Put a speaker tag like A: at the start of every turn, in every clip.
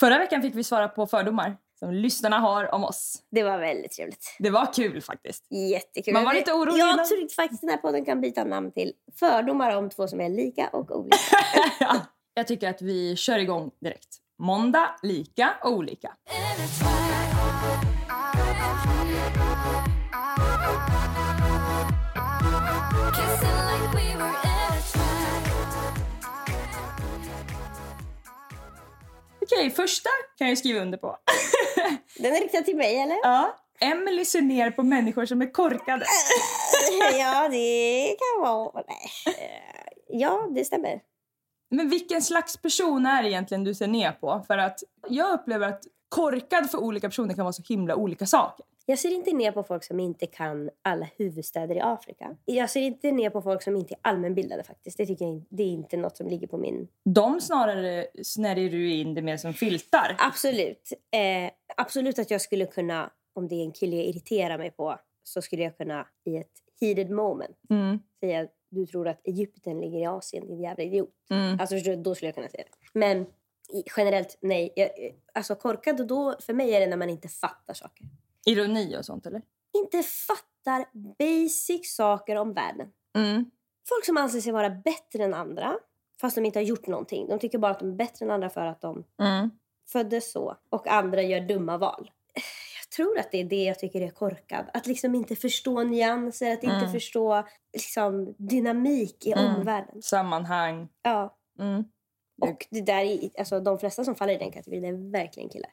A: Förra veckan fick vi svara på fördomar som lyssnarna har om oss.
B: Det var väldigt trevligt.
A: Det var kul faktiskt.
B: Jättekul.
A: Man var lite orolig innan.
B: Jag tror faktiskt den här podden kan byta namn till Fördomar om två som är lika och olika.
A: Ja. Jag tycker att vi kör igång direkt. Måndag, lika och olika. Okej, första kan jag skriva under på.
B: Den är riktad till mig eller?
A: ja. Emily ser ner på människor som är korkade.
B: ja, det kan vara... Nej. Eh, Ja, det stämmer.
A: Men vilken slags person är det egentligen du ser ner på? För att jag upplever att korkad för olika personer kan vara så himla olika saker.
B: Jag ser inte ner på folk som inte kan alla huvudstäder i Afrika. Jag ser inte ner på folk som inte är allmänbildade faktiskt. Det tycker jag inte, det är inte något som ligger på min...
A: De snarare snärjer du in det mer som filtar.
B: Absolut. Eh, absolut att jag skulle kunna, om det är en kille jag irriterar mig på, så skulle jag kunna i ett heated moment
A: Mm.
B: säga du tror att Egypten ligger i Asien, din jävla idiot.
A: Mm.
B: Alltså förstår du, då skulle jag kunna säga det. Men i- generellt, nej. Jag, alltså korkad och då, för mig är det när man inte fattar saker.
A: Ironi och sånt eller?
B: Inte fattar basic saker om världen.
A: Mm.
B: Folk som anser sig vara bättre än andra, fast de inte har gjort någonting. De tycker bara att de är bättre än andra för att de
A: Mm.
B: föddes så. Och andra gör dumma val. Jag tror att det är det jag tycker är korkad. Att liksom inte förstå nyanser, att inte
A: Mm.
B: förstå liksom, dynamik i
A: Mm.
B: omvärlden.
A: Sammanhang.
B: Ja.
A: Mm.
B: Och det där är, alltså, de flesta som faller i den kategorin är verkligen killar.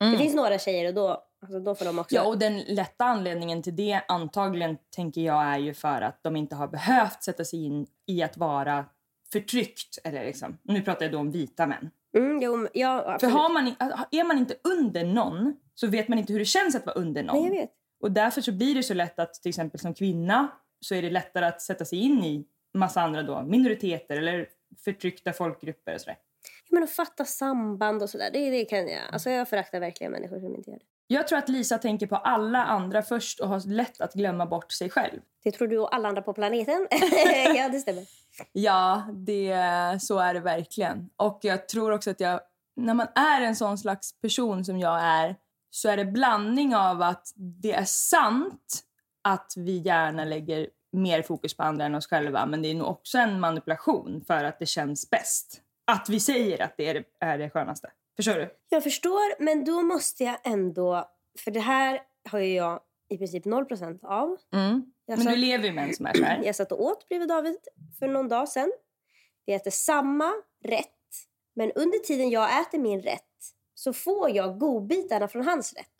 A: Mm.
B: Det finns några tjejer och då, alltså, då får de också...
A: Ja, och den lätta anledningen till det antagligen tänker jag är ju för att de inte har behövt sätta sig in i att vara förtryckt. Eller liksom. Nu pratar jag då om vita män.
B: mm, jo, men- ja,
A: För
B: absolut.
A: har man, i- äh, är man inte under någon så vet man inte hur det känns att vara under någon.
B: Nej, jag vet.
A: Och därför så blir det så lätt att till exempel som kvinna så är det lättare att sätta sig in i massa andra då, minoriteter eller förtryckta folkgrupper och sådär.
B: Ja, Men att fatta samband och sådär, det, det kan jag. Alltså jag föraktar verkligen människor som inte gör det.
A: Jag tror att Lisa tänker på alla andra först och har lätt att glömma bort sig själv.
B: Det tror du och alla andra på planeten. ja, det stämmer.
A: Ja, det, så är det verkligen. Och jag tror också att jag, när man är en sån slags person som jag är så är det blandning av att det är sant att vi gärna lägger mer fokus på andra än oss själva men det är nog också en manipulation för att det känns bäst. Att vi säger att det är det, är det skönaste. Förstår du?
B: Jag förstår, men då måste jag ändå... För det här har ju jag i princip 0% av. Jag
A: Men
B: sa-
A: du lever ju med en som är så här.
B: Jag satt och åt bredvid David för någon dag sedan. Vi äter samma rätt. Men under tiden jag äter min rätt så får jag godbitarna från hans rätt.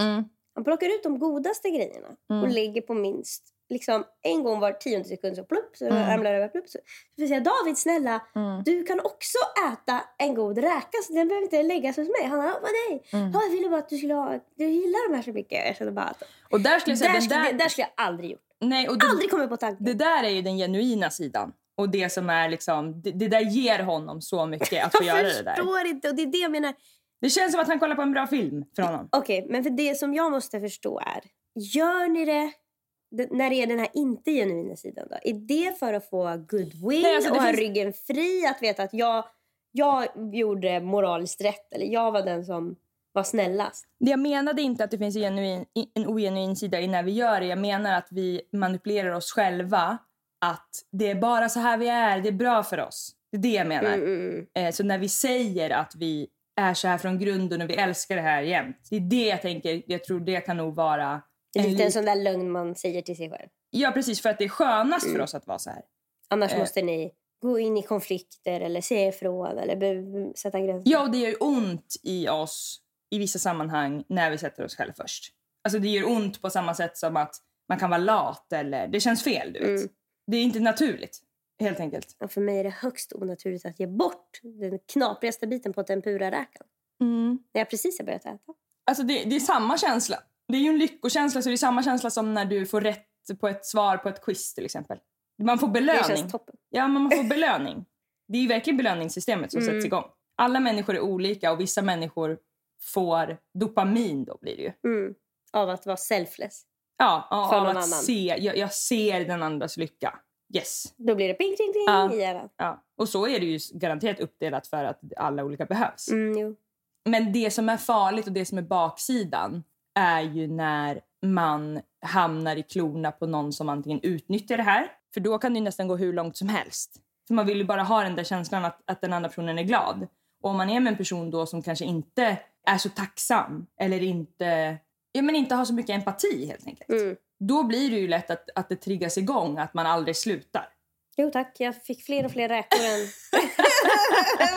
B: Han plockar ut de godaste grejerna och
A: Mm.
B: lägger på minst liksom, en gång var tionde sekund så plupp så
A: Mm.
B: ramlar det över plupp. Så så får jag säga David snälla du kan också äta en god räka så den behöver inte läggas hos mig. Han bara, "Åh, nej.
A: Mm.
B: "Ja, Jag ville bara att du skulle ha, du gillar de här så mycket. Jag kände bara att
A: Och där skulle jag säga...
B: där,
A: den
B: skulle-
A: där, Mm.
B: det där skulle jag aldrig gjort.
A: nej, och det,
B: Aldrig kommit på tanken.
A: Det där är ju den genuina sidan. Och det som är liksom, det, det där ger honom så mycket att få
B: Jag
A: göra det där.
B: förstår inte. Och det är det jag menar.
A: Det känns som att han kollar på en bra film för honom.
B: Okej, men för det som jag måste förstå är, gör ni det det- när det är den här inte genuina sidan då? Är det för att få goodwill
A: Nej, alltså, det
B: och ha
A: finns-
B: ryggen fri? Att veta att jag, jag gjorde moraliskt rätt eller jag var den som var snällast?
A: Det jag menade inte att det finns en, genuin, en ogenuin sida i när vi gör det. Jag menar att vi manipulerar oss själva. Att det är bara så här vi är, det är bra för oss. Det är det jag menar.
B: Mm, mm, mm.
A: Eh, Så när vi säger att vi är så här från grunden och vi älskar det här jämt. Det är det jag tänker, jag tror det kan nog vara...
B: Det är lite
A: lit-
B: en sån där lögn man säger till sig själv.
A: Ja precis, för att det är skönast för oss att vara så här.
B: Annars
A: Eh.
B: måste ni gå in i konflikter eller säga ifrån eller be- sätta gränser.
A: Ja, och det gör ont i oss i vissa sammanhang när vi sätter oss själva först. Alltså det gör ont på samma sätt som att man kan vara lat eller det känns fel, du vet.
B: Mm.
A: Det är inte naturligt, helt enkelt.
B: Och för mig är det högst onaturligt att ge bort den knaprigaste biten på tempura-räkan när jag precis har börjat äta.
A: Alltså det, det är samma känsla. Det är ju en lyckokänsla, så det är samma känsla som när du får rätt på ett svar på ett quiz till exempel. Man får belöning.
B: Det känns toppen.
A: Ja, men man får belöning. Det är ju verkligen belöningssystemet som
B: Mm.
A: sätts igång. Alla människor är olika och vissa människor får dopamin då blir det ju.
B: Mm. Av att vara selfless.
A: Ja, av
B: För
A: att
B: någon annan.
A: se. Jag, jag ser den andras lycka. Yes.
B: Då blir det ping, ping, ping
A: Ja.
B: i hjärnan.
A: Ja. Och så är det ju garanterat uppdelat för att alla olika behövs.
B: Mm, jo.
A: Men det som är farligt och det som är baksidan är ju när man hamnar i klorna på någon som antingen utnyttjar det här, för då kan det ju nästan gå hur långt som helst. För man vill ju bara ha den där känslan att, att den andra personen är glad. Och om man är med en person då som kanske inte är så tacksam eller inte, ja, men inte har så mycket empati helt enkelt.
B: Mm.
A: Då blir det ju lätt att, att det triggas igång, att man aldrig slutar.
B: jo tack, jag fick fler och fler räkor än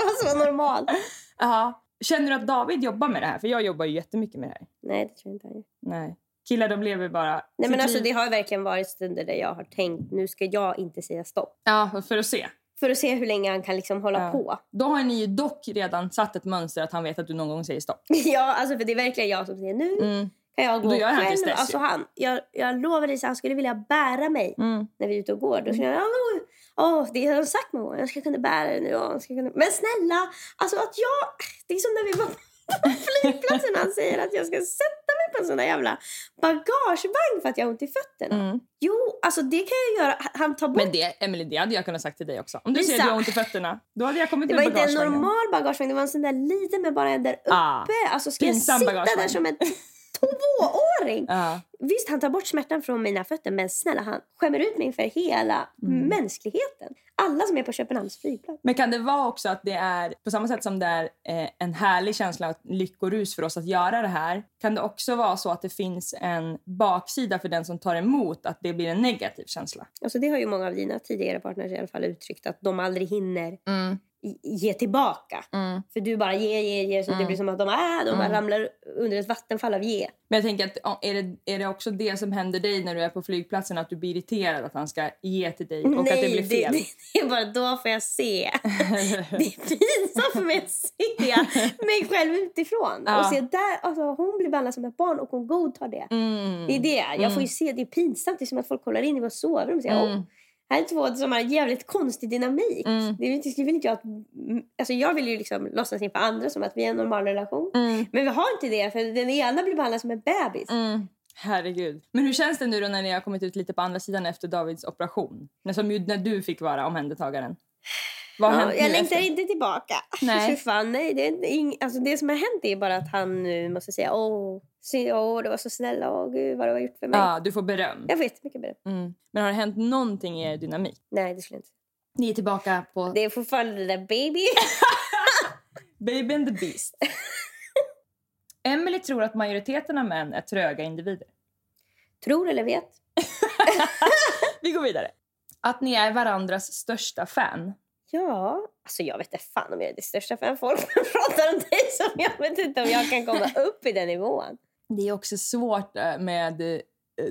B: vad som var normalt.
A: Ja. Känner du att David jobbar med det här? För jag jobbar ju jättemycket med det här.
B: Nej, det tror jag inte. han gör.
A: Nej. Killar de lever bara...
B: Nej, men
A: sitt
B: alltså,
A: liv.
B: det har verkligen varit stunder där jag har tänkt nu ska jag inte säga stopp.
A: Ja, för att se.
B: För att se hur länge han kan liksom hålla
A: Ja.
B: på.
A: Då har ni ju dock redan satt ett mönster att han vet att du någon gång säger stopp.
B: ja, alltså, för det är verkligen jag som säger nu
A: Mm.
B: kan jag gå
A: Då gör han tills dess
B: själv.
A: ju.
B: alltså, han, jag, jag lovar dig, så han skulle vilja bära mig
A: Mm.
B: när vi är ute och går. Då skulle jag, "Åh, åh, det har de sagt många gånger, jag ska kunna bära det nu. åh, Jag ska kunna... Men snälla, alltså att jag... Det är som när vi var på flygplatsen och han säger att jag ska sätta mig på en sån där jävla bagagevagn för att jag har ont i fötterna.
A: Mm.
B: Jo, alltså det kan jag göra. Han tar bort...
A: Men det, Emily, det hade jag kunnat sagt till dig också. Om du
B: Lisa.
A: säger att du har ont i fötterna, då hade jag kommit
B: det
A: med
B: var inte en
A: bagagevagnen.
B: normal bagagevagn, det var en sån där liten med bara en där uppe.
A: Ah,
B: alltså ska jag
A: pinsam
B: sitta där
A: bagagevagn.
B: som en tvååring?
A: Ja.
B: Visst, han tar bort smärtan från mina fötter, men snälla han skämmer ut mig inför hela
A: Mm.
B: mänskligheten. Alla som är på Köpenhamns flygplats.
A: Men kan det vara också att det är, på samma sätt som det är eh, en härlig känsla och ett lyckorus för oss att göra det här, kan det också vara så att det finns en baksida för den som tar emot, att det blir en negativ känsla?
B: Alltså det har ju många av dina tidigare partners i alla fall uttryckt att de aldrig hinner
A: Mm.
B: i- ge tillbaka. För du bara ger, ger,
A: Mm.
B: ger så det blir som att de, äh, de bara ramlar under ett vattenfall av ge.
A: Men jag tänker att ja, är det, är det också det som händer dig när du är på flygplatsen att du blir irriterad att han ska ge till dig och
B: Nej,
A: att det blir fel?
B: Det, det är bara då får jag se. det är pinsamt för mig att se mig själv utifrån.
A: Ja.
B: Och se där, alltså, hon blir behandlad som ett barn och hon godtar det.
A: Mm.
B: Det är det. Jag får ju se, det är pinsamt. Det är som att folk kollar in i vårt sovrum och säger
A: Mm.
B: "Åh, här är två som har en jävligt konstig dynamik. Det är- det vill inte jag att... mm, Alltså jag vill ju liksom låtsas inför andra som att vi är en normal relation.
A: Mm.
B: Men vi har inte det för den ena blir behandlad som en bebis.
A: Mm. Herregud. Men hur känns det nu då när ni har kommit ut lite på andra sidan efter Davids operation? När, som ju när du fick vara omhändertagaren. Vad har
B: Ja,
A: hänt
B: jag
A: nu
B: längtar
A: efter?
B: inte tillbaka.
A: Nej.
B: Fy fan, nej. Det, är inte ing- alltså det som har hänt är bara att han nu måste säga åh, sy- åh du var så snäll, åh gud vad du har gjort för mig.
A: Ja, du får beröm.
B: Jag får jättemycket beröm.
A: Mm. Men har det hänt någonting i er dynamik?
B: Nej, det skulle jag inte.
A: Ni är tillbaka på
B: Det är fortfarande det där baby.
A: Baby and the Beast. Emily tror att majoriteten av män är tröga individer.
B: Tror eller vet.
A: Vi går vidare. Att ni är varandras största fan.
B: Ja, alltså jag vet inte fan om jag är det största fan folk pratar om dig som jag vet inte om jag kan komma upp i den nivån.
A: Det är också svårt eh, med eh,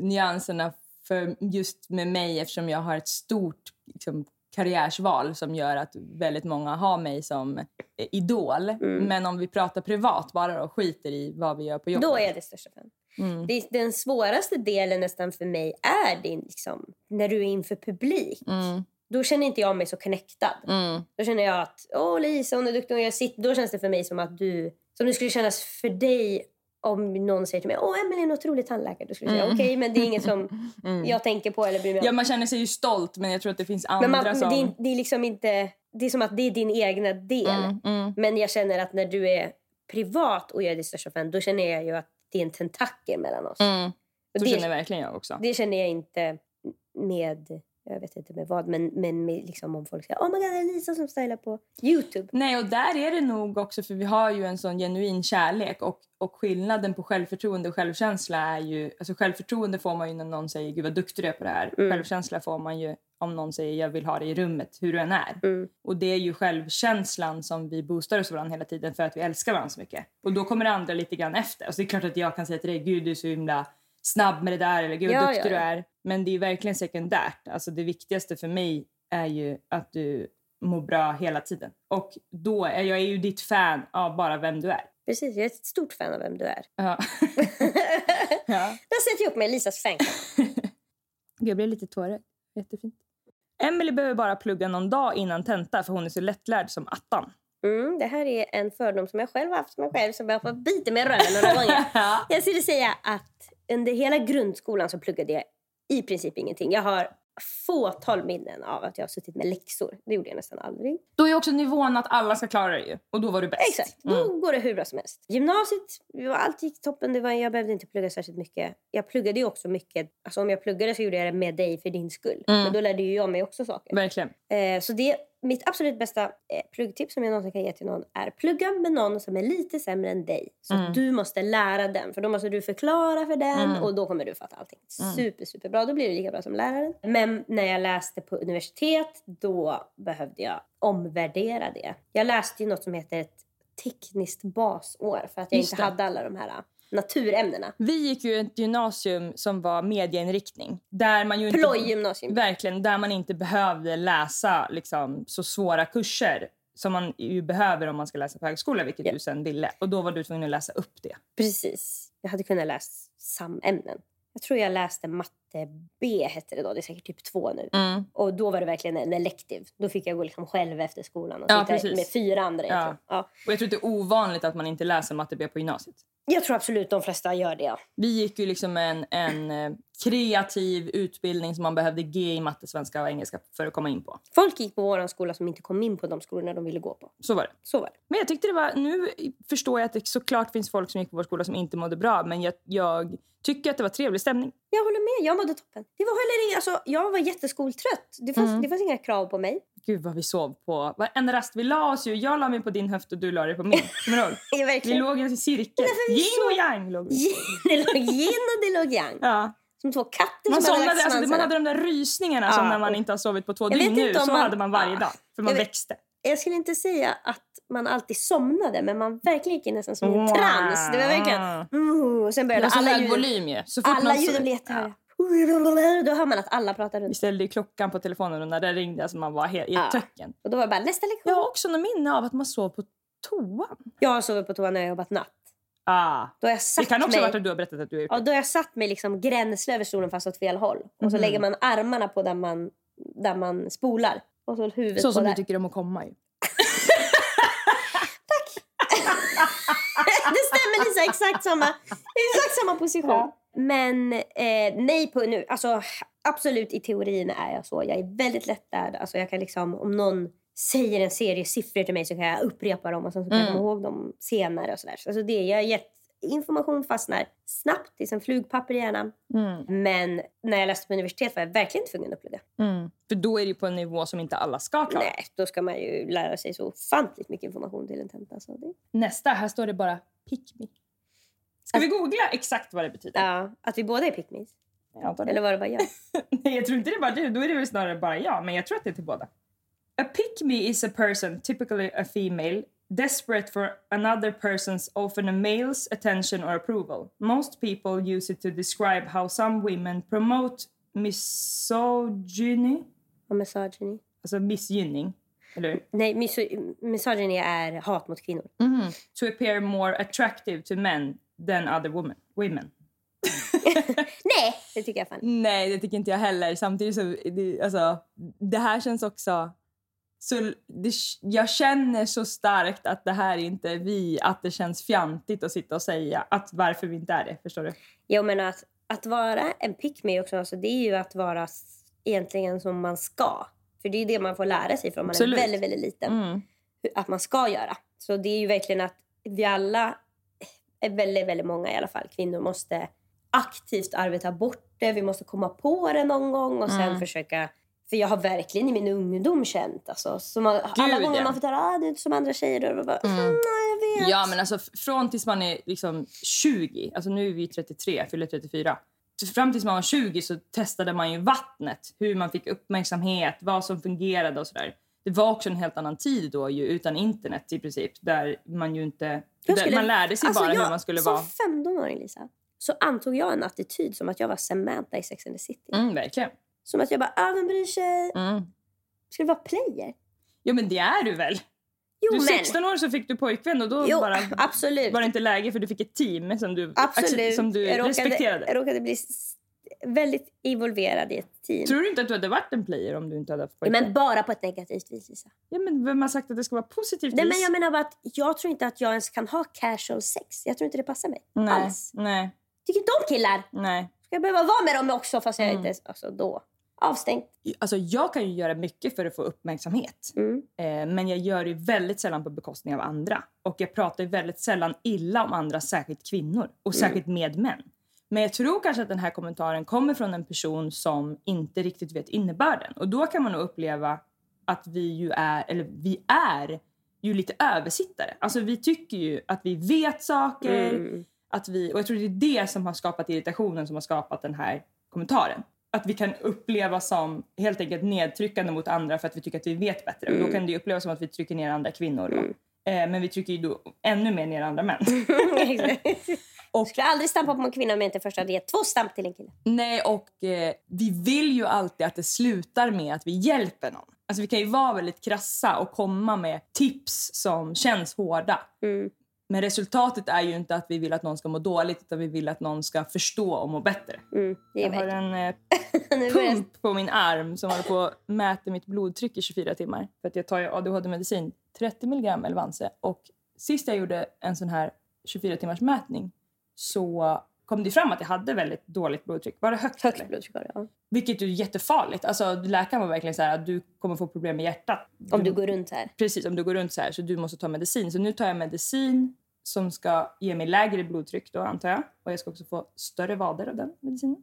A: nyanserna för just med mig eftersom jag har ett stort liksom, karriärsval som gör att väldigt många har mig som eh, idol.
B: Mm.
A: Men om vi pratar privat bara och skiter i vad vi gör på jobbet.
B: Då är jag det största fan.
A: Mm.
B: Det, den svåraste delen nästan för mig är din, liksom, när du är inför publik.
A: Mm,
B: Då känner inte jag mig så connectad.
A: mm,
B: Då känner jag att åh Lisa hon är duktig och jag sitter. Då känns det för mig som att du Som det skulle kännas för dig om någon säger till mig Åh, Emelie är en otrolig tandläkare. Då skulle jag säga
A: Mm.
B: okej, men det är inget som
A: Mm.
B: jag tänker på eller bryr mig om.
A: Ja, man känner sig ju stolt, men jag tror att det finns andra
B: men man,
A: som...
B: det, är, det är liksom inte... Det är som att det är din egna del.
A: Mm, mm.
B: Men jag känner att när du är privat och jag är din största fan, då känner jag ju att det är en tentakel mellan oss.
A: Mm.
B: Och
A: Så
B: det,
A: känner verkligen jag också.
B: det känner jag inte med, jag vet inte med vad, men, men med, liksom om folk säger oh my god, det är Lisa som stylar på Youtube.
A: Nej, och där är det nog också, för vi har ju en sån genuin kärlek och, och skillnaden på självförtroende och självkänsla är ju... Alltså självförtroende får man ju när någon säger gud vad duktig du är på det här.
B: Mm.
A: Självkänsla får man ju om någon säger jag vill ha dig i rummet, hur du än är.
B: Mm.
A: Och det är ju självkänslan som vi boostar oss varandra hela tiden för att vi älskar varandra så mycket. Och då kommer det andra lite grann efter. Alltså det är klart att jag kan säga till dig, gud du är så himla snabb med det där eller gud vad
B: Ja,
A: duktig
B: ja,
A: du
B: ja.
A: är. Men det är ju verkligen sekundärt. Alltså det viktigaste för mig är ju att du mår bra hela tiden. Och då är jag är ju ditt fan av bara vem du är.
B: Precis, jag är ett stort fan av vem du är.
A: Ja. ja.
B: Där sätter jag upp mig i Lisas fanclub.
A: Jag blev lite tårögd. Jättefint. Emily behöver bara plugga någon dag innan tenta för hon är så lättlärd som attan.
B: Mm, det här är en fördom som jag själv har haft med mig själv som jag
A: Mm.
B: får bita mig i röven några gånger. Jag skulle säga att under hela grundskolan så pluggade jag i princip ingenting. Jag har fåtal minnen av att jag har suttit med läxor. Det gjorde jag nästan aldrig.
A: Då är också nivån att alla ska klara det ju. Och då var du bäst.
B: Exakt, då
A: Mm.
B: går det hur bra som helst. Gymnasiet, ja, allt gick toppen. Det var, jag behövde inte plugga särskilt mycket. Jag pluggade ju också mycket. Alltså om jag pluggade så gjorde jag det med dig för din skull.
A: Mm.
B: Men då lärde ju jag mig också saker.
A: Verkligen.
B: Eh, så det, mitt absolut bästa eh, pluggtips som jag någonsin kan ge till någon är plugga med någon som är lite sämre än dig. Så att
A: Mm.
B: du måste lära den. För då måste du förklara för den
A: Mm.
B: och då kommer du fatta allting.
A: Mm.
B: Super, superbra. Då blir du lika bra som läraren. Men när jag läste på universitet då behövde jag omvärdera det. Jag läste ju något som heter ett tekniskt basår för att jag
A: Just
B: inte
A: det.
B: hade alla de här eh, naturämnena.
A: Vi gick ju ett gymnasium som var medieinriktning. Där man ju inte,
B: Plojgymnasium.
A: verkligen, där man inte behövde läsa liksom, så svåra kurser som man ju behöver om man ska läsa på högskola, vilket
B: Ja.
A: du sen ville. Och då var du tvungen att läsa upp det.
B: Precis. Jag hade kunnat läsa samämnen. Jag tror jag läste matte B hette det då. Det är säkert typ två nu.
A: Mm.
B: Och då var det verkligen en elektiv. Då fick jag gå liksom själv efter skolan och
A: Ja,
B: sitta
A: precis.
B: med fyra andra. Jag,
A: Ja.
B: tror. Ja.
A: Och jag tror att det är ovanligt att man inte läser matte B på gymnasiet.
B: jag tror absolut de flesta gör det. Ja.
A: Vi gick ju liksom en, en eh, kreativ utbildning som man behövde G i matte, svenska och engelska för att komma in på.
B: Folk gick på vår skola som inte kom in på de skolorna de ville gå på.
A: Så var det.
B: Så var det.
A: Men jag tyckte det var, nu förstår jag att det såklart finns folk som gick på vår skola som inte mådde bra, men jag, jag tycker att det var trevlig stämning.
B: Jag håller med. Jag mådde toppen. Det var heller inga, alltså, jag var jätteskoltrött. Det fanns,
A: Mm.
B: det fanns inga krav på mig.
A: Gud vad vi sov på varenda rast. Vi la oss ju. Jag la mig på din höft och du la dig på min. Kommer du ihåg?
B: Jag
A: Vi
B: verkligen.
A: låg i en cirkel.
B: Därför vi
A: Yin och yang låg vi.
B: Det låg yin och det låg yang.
A: Ja.
B: Som två katter
A: Man,
B: som hade
A: somnade,
B: lagt
A: alltså, man hade
B: svansarna.
A: de där rysningarna
B: Ja,
A: som när man
B: och-
A: inte har sovit på två
B: Jag vet
A: dygn nu.
B: inte om
A: Så
B: man-
A: hade man varje
B: Ja.
A: dag. För man
B: Jag vet-
A: växte.
B: jag skulle inte säga att man alltid somnade, men man verkligen gick in nästan som i en trans. Det var verkligen... Mm, och sen
A: Det
B: började
A: var så
B: alla
A: hög
B: ljuden,
A: volym ju. Så fort
B: alla
A: man
B: ljuden blev
A: ja.
B: jättehöga. Då hör man att alla pratar
A: Vi
B: runt.
A: ställde ju klockan på telefonen och när den ringde alltså man var helt i ett
B: Ja.
A: töcken.
B: Och då var det bara nästa lektion.
A: Jag har också något minne av att man sov på toan.
B: Jag har sovit på toa när jag har jobbat natt.
A: Ah.
B: Då har jag
A: Det
B: satt
A: kan också ha
B: mig,
A: varit att du har berättat att du har gjort
B: ja, då har jag satt mig liksom gränsle över stolen fast åt fel håll. Och så
A: Mhm.
B: lägger man armarna på där man, där man spolar. Och så
A: det.
B: huvudet
A: Så
B: på
A: som
B: där.
A: du tycker om att komma ju.
B: det stämmer Lisa, exakt samma, exakt samma position. Men eh, nej på nu, alltså absolut i teorin är jag så. Jag är väldigt lättlärd. Alltså jag kan liksom, om någon säger en serie siffror till mig så kan jag upprepa dem och sen så kan jag
A: Mm.
B: komma ihåg dem senare och sådär. Så Alltså det, jag är jätte... Information fastnar snabbt, det är som flugpapper i hjärnan.
A: Mm.
B: Men när jag läste på universitet var jag verkligen inte tvungen att plugga.
A: Mm. För då är det ju på en nivå som inte alla ska klara.
B: Nej, då ska man ju lära sig så ofantligt mycket information till en tenta. Så det...
A: Nästa, här står det bara pick me. Ska vi
B: Alltså-
A: googla exakt vad det betyder?
B: Ja, att vi båda är pick-me's.
A: Jag antar det.
B: Eller var det bara jag?
A: Nej, jag tror inte det är bara du. Då är det väl snarare bara jag. Men jag tror att det är till båda. A pick me is a person, typically a female, desperate for another person's, often a male's, attention or approval. Most people use it to describe how some women promote misogyny,
B: Och misogyny.
A: alltså missgynning, eller hur?
B: Nej, miso- misogyny är hat mot kvinnor.
A: To appear more attractive to men than other women. women.
B: Nej, det tycker jag fan.
A: Nej, det tycker inte jag heller. Samtidigt så, det, alltså, det här känns också Så det, jag känner så starkt att det här inte är vi, att det känns fjantigt att sitta och säga att varför vi inte är det. Förstår du?
B: Jag menar att, att vara en pick me också, alltså det är ju att vara s- egentligen som man ska. För det är ju det man får lära sig från man
A: Absolut.
B: är väldigt, väldigt liten.
A: Mm.
B: hur- Att man ska göra. Så det är ju verkligen att vi alla, är väldigt, väldigt många i alla fall, kvinnor måste aktivt arbeta bort det. Vi måste komma på det någon gång och sen
A: Mm.
B: försöka för jag har verkligen i min ungdom känt alltså, som man, alla
A: Gud,
B: gånger
A: ja.
B: man får höra ah, du är inte som andra tjejer. Och bara,
A: Mm.
B: mm. nej, jag vet.
A: Ja, men alltså f- från tills man är liksom 20, alltså nu är vi 33, fyller 34. Så Fram tills man var 20 så testade man ju vattnet, hur man fick uppmärksamhet, vad som fungerade och sådär. Det var också en helt annan tid då ju utan internet i princip där man ju inte,
B: Jag
A: där
B: skulle- alltså,
A: man lärde sig bara hur man skulle
B: som
A: vara.
B: Som 15-åring, Lisa, så antog jag en attityd som att jag var Samantha i Sex and the City.
A: Mm, verkligen.
B: Som att jag bara, ah, vem bryr sig?
A: Mm.
B: Ska det vara player?
A: Jo men det är du väl?
B: Jo,
A: Du är
B: men.
A: 16 år så fick du pojkvän och då
B: jo,
A: bara,
B: absolut.
A: var det inte läge för du fick ett team som du,
B: absolut.
A: som du
B: jag råkade,
A: respekterade.
B: Jag råkade bli s- väldigt involverad i ett team.
A: Tror du inte att du hade varit en player om du inte hade haft
B: Ja,
A: pojkvän?
B: men bara på ett negativt vis, Lisa.
A: Ja, men vem har sagt att det ska vara positivt?
B: Nej,
A: vis?
B: men jag menar bara att jag tror inte att jag ens kan ha casual sex. Jag tror inte det passar mig
A: nej,
B: alls.
A: nej,
B: Tycker inte om killar.
A: nej.
B: Ska jag behöva vara med dem också fast jag
A: Mm.
B: inte... Alltså då. Avstängt.
A: Alltså, jag kan ju göra mycket för att få uppmärksamhet.
B: Mm.
A: Eh, men jag gör det väldigt sällan på bekostning av andra. Och jag pratar ju väldigt sällan illa om andra, särskilt kvinnor. Och
B: Mm.
A: särskilt med män. Men jag tror kanske att den här kommentaren kommer från en person som inte riktigt vet innebörden. Och då kan man nog uppleva att vi ju är, eller vi är ju lite översittare. Alltså vi tycker ju att vi vet saker.
B: Mm.
A: att vi, och jag tror det är det som har skapat irritationen som har skapat den här kommentaren. Att vi kan uppleva som helt enkelt nedtryckande mot andra för att vi tycker att vi vet bättre. Och då kan det ju upplevas som att vi trycker ner andra kvinnor. Då. Eh, men vi trycker ju då ännu mer ner andra män.
B: och... Skulle aldrig stampa på en kvinna om jag inte först hade gett två stamp till en kille.
A: Nej, och eh, vi vill ju alltid att det slutar med att vi hjälper någon. Alltså vi kan ju vara väldigt krassa och komma med tips som känns hårda.
B: Mm.
A: Men resultatet är ju inte att vi vill att någon ska må dåligt utan vi vill att någon ska förstå och må bättre.
B: Mm. Det är
A: Jag har
B: verkligen.
A: en eh,
B: Nu börjar jag-
A: pump på min arm som håller på att mäta mitt blodtryck i 24 timmar. För att jag tar ju ADHD-medicin, 30 milligram Elvanse. Och sist jag gjorde en sån här 24 timmars mätning så kom det fram att jag hade väldigt dåligt blodtryck. Var det högt? eller?
B: Högt blodtryck har jag.
A: Vilket är jättefarligt. Alltså, läkaren var verkligen så här att du kommer få problem med hjärtat.
B: Om du går runt här.
A: Precis, om du går runt så här så du måste ta medicin. Så nu tar jag medicin som ska ge mig lägre blodtryck då antar jag. Och jag ska också få större vader av den medicinen.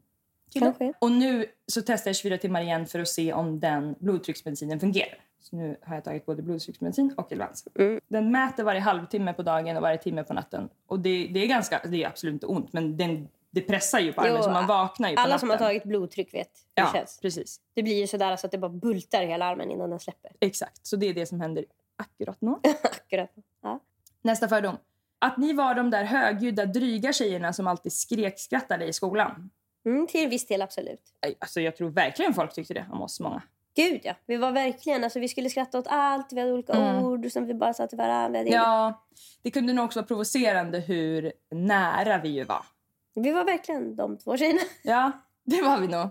A: Tydligen.
B: Kanske.
A: Och nu så testar jag 24 timmar igen för att se om den blodtrycksmedicinen fungerar. Så nu har jag tagit både blodtrycksmedicin och Elvanse.
B: Mm.
A: Den mäter varje halvtimme på dagen och varje timme på natten. Och det, det är ganska, det är absolut inte ont men den, det pressar ju på armen
B: Jo,
A: så man vaknar ju på
B: Alla
A: natten.
B: som har tagit blodtryck vet hur
A: Ja,
B: det känns.
A: precis.
B: Det blir ju sådär så att det bara bultar i hela armen innan den släpper.
A: Exakt. Så det är det som händer akkurat nu.
B: Akkurat. Ja.
A: Nästa fördom. Att ni var de där högljudda, dryga tjejerna som alltid skrek-skrattade i skolan.
B: Mm, till en viss del, absolut.
A: Aj, Alltså, jag tror verkligen folk tyckte det om oss många.
B: Gud, ja. Vi var verkligen... Alltså, vi skulle skratta åt allt. Vi hade olika
A: Mm.
B: ord som vi bara sa till varandra. Det-
A: Ja, det kunde nog också vara provocerande hur nära vi ju var.
B: Vi var verkligen de två tjejerna.
A: Ja, det var vi nog. Eh,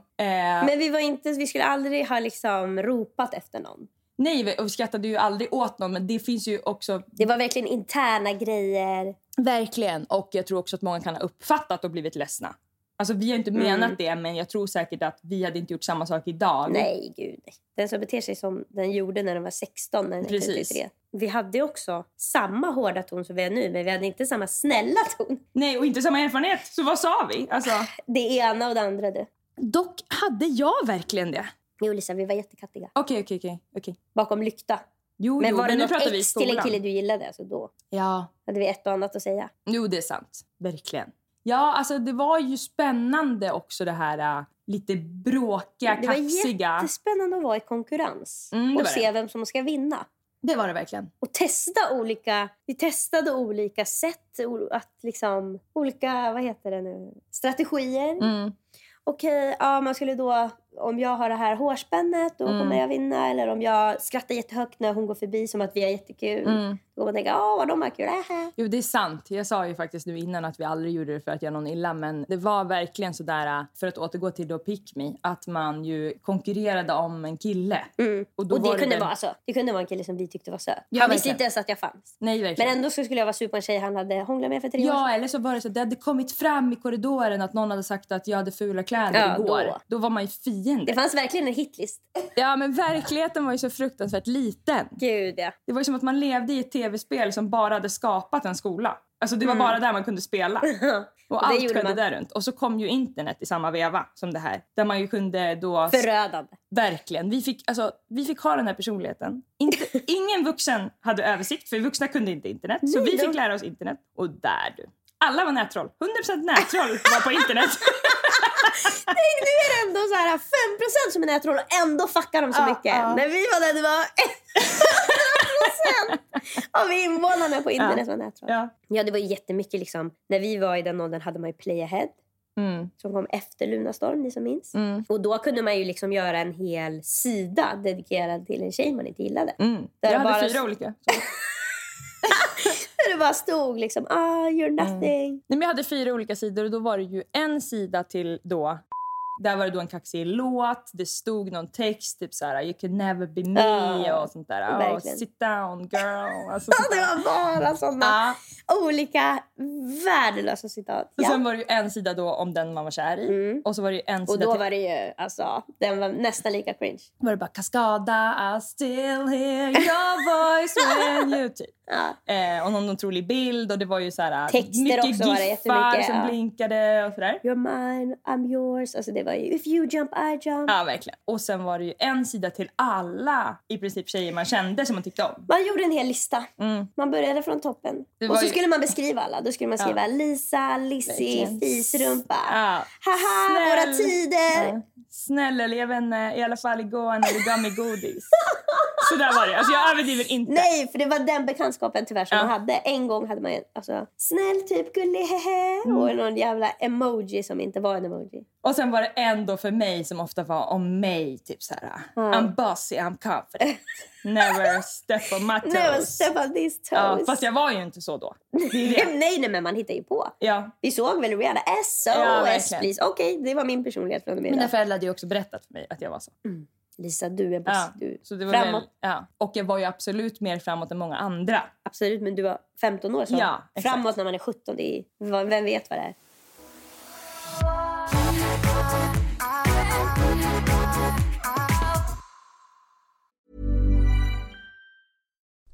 B: Men vi, var inte, vi skulle aldrig ha liksom ropat efter någon.
A: Nej, vi- och vi skrattade ju aldrig åt någon, men det finns ju också...
B: Det var verkligen interna grejer.
A: Verkligen. Och jag tror också att många kan ha uppfattat och blivit ledsna. Alltså, vi har inte menat det, men jag tror säkert att vi hade inte gjort samma sak idag.
B: Nej, gud. Den som beter sig som den gjorde när den var 16, när den är
A: Precis.
B: 33. Vi hade ju också samma hårda ton som vi har nu, men vi hade inte samma snälla ton.
A: Nej, och inte samma erfarenhet. Så vad sa vi? Alltså...
B: Det ena och det andra, du.
A: Dock hade jag verkligen det.
B: Jo, Lisa, vi var jättekattiga.
A: Okej, okej, okej. okej.
B: Bakom lykta.
A: Jo,
B: Men
A: jo,
B: var det
A: men nu
B: något
A: pratar vi i
B: ex till en
A: skolan.
B: kille du gillade, alltså då
A: Ja.
B: hade vi ett och annat att säga.
A: Jo, det är sant. Verkligen. Ja, alltså det var ju spännande också det här äh, lite bråkiga,
B: Det var
A: kaxiga.
B: jättespännande att vara i konkurrens
A: Mm, det
B: och
A: var
B: se vem som ska vinna.
A: Det var det verkligen.
B: Och testa olika, vi testade olika sätt, o- att liksom, olika vad heter det nu, strategier.
A: Mm.
B: Okej, ja, man skulle då om jag har det här hårspännet då
A: Mm.
B: kommer jag vinna. Eller om jag skrattar jättehögt när hon går förbi som att vi har jättekul.
A: Mm.
B: Då kommer man tänka, åh vad de har kul. Ähä.
A: Jo, det är sant. Jag sa ju faktiskt nu innan att vi aldrig gjorde det för att göra någon illa, men det var verkligen sådär, äh, för att återgå till då Pick Me, att man ju konkurrerade om en kille. Och, då
B: Mm. Och det
A: var
B: kunde,
A: väl-
B: vara, alltså, det kunde vara en kille som vi tyckte var söt.
A: Ja,
B: han visste
A: verkligen.
B: inte ens att jag fanns.
A: Nej, verkligen.
B: Men ändå så skulle jag vara sur på en tjej han hade hånglat med för tre år
A: Ja,
B: sedan.
A: eller så var det så att det hade kommit fram i korridoren att någon hade sagt att jag hade fula kläder
B: Ja,
A: igår. Då.
B: då.
A: var man ju fiende.
B: Det fanns verkligen en hitlist.
A: Ja, men verkligheten var ju så fruktansvärt liten.
B: Gud ja.
A: Det var ju som att man levde i ett tv-spel som bara hade skapat en skola. Alltså det var bara där man kunde spela. Och,
B: Mm. det
A: allt
B: gjorde
A: skedde
B: man.
A: där runt. Och så kom ju internet i samma veva som det här. Där man ju kunde då...
B: Förödande.
A: Verkligen. Vi fick, alltså, vi fick ha den här personligheten. Inte, ingen vuxen hade översikt, för vuxna kunde inte internet. så vi fick lära oss internet. Och där du. Alla var nättroll. 100% nättroll var på internet.
B: Tänk, nu är det ändå så här 5% som är nätroll och ändå fuckar de så
A: Ja,
B: mycket.
A: ja.
B: När vi var där det var 1% av invånarna på internet var nätroll.
A: ja.
B: Ja, det var ju jättemycket liksom. När vi var i den åldern hade man ju Play Ahead
A: Mm.
B: som kom efter Lunarstorm, ni som minns. Och då kunde man ju liksom göra en hel sida dedikerad till en tjej man inte gillade.
A: Mm.
B: Där
A: Jag hade
B: bara-
A: fyra olika.
B: Där det bara stod liksom, ah, you're
A: Mm.
B: nothing.
A: Nej, men jag hade fyra olika sidor och då var det ju en sida till då där var det då en kaxig låt, det stod någon text typ så här you can never be me
B: Ja,
A: och sånt där. Oh,
B: verkligen.
A: sit down girl. Alltså, sånt
B: Det
A: där.
B: var bara sådana
A: Ja.
B: olika värdelösa citat.
A: Och
B: Ja.
A: sen var det ju en sida då om den man var kär i. Och så var det ju en
B: Mm. Och
A: sida
B: då
A: till.
B: var det ju, alltså, den var nästan lika cringe.
A: var det bara Cascada, I still hear your voice when you... Typ. Eh, och någon otrolig bild och det var ju så här...
B: Texter
A: mycket
B: också var det
A: giffar
B: jättemycket,
A: som
B: ja.
A: blinkade och sådär.
B: You're mine, I'm yours. Alltså det var ju, if you jump, I jump.
A: Ja, verkligen. Och sen var det ju en sida till alla i princip tjejer man kände som man tyckte om.
B: Man gjorde en hel lista. Man började från toppen.
A: Mm. Det
B: Och
A: var
B: så
A: ju-
B: skulle man beskriva alla. Då skulle man skriva Lisa, Lizzie,
A: Verkligen.
B: fisrumpa.
A: Ja.
B: Haha,
A: Snäll.
B: våra tider.
A: Ja. Snäll eleven, eh, i alla fall igår när du gav mig godis. Så där var det. Alltså jag överdriver inte.
B: Nej, för det var den bekantskapen tyvärr som
A: Ja.
B: man hade. En gång hade man en, alltså, snäll typ gullig hehe
A: Mm.
B: och någon jävla emoji som inte var en emoji.
A: Och sen var det en då för mig som ofta var om mig. Typ så här, I'm bossy, I'm confident. Never step on my toes.
B: Never step on these
A: ja,
B: toes.
A: fast jag var ju inte så då. Det är det.
B: nej, nej, men man hittar ju på.
A: Ja.
B: Vi såg väl Rihanna, SOS
A: Ja, verkligen.
B: please. Okej, det var min personlighet från och med
A: Mina
B: idag.
A: föräldrar hade ju också berättat för mig att jag var så.
B: Lisa, du är bäst.
A: Ja.
B: Du.
A: så det var
B: framåt,
A: Väl, ja. Och jag var ju absolut mer framåt än många andra.
B: absolut, men du var 15 år så.
A: Ja, exakt.
B: framåt när man är 17, det är, vad- vem vet vad det är.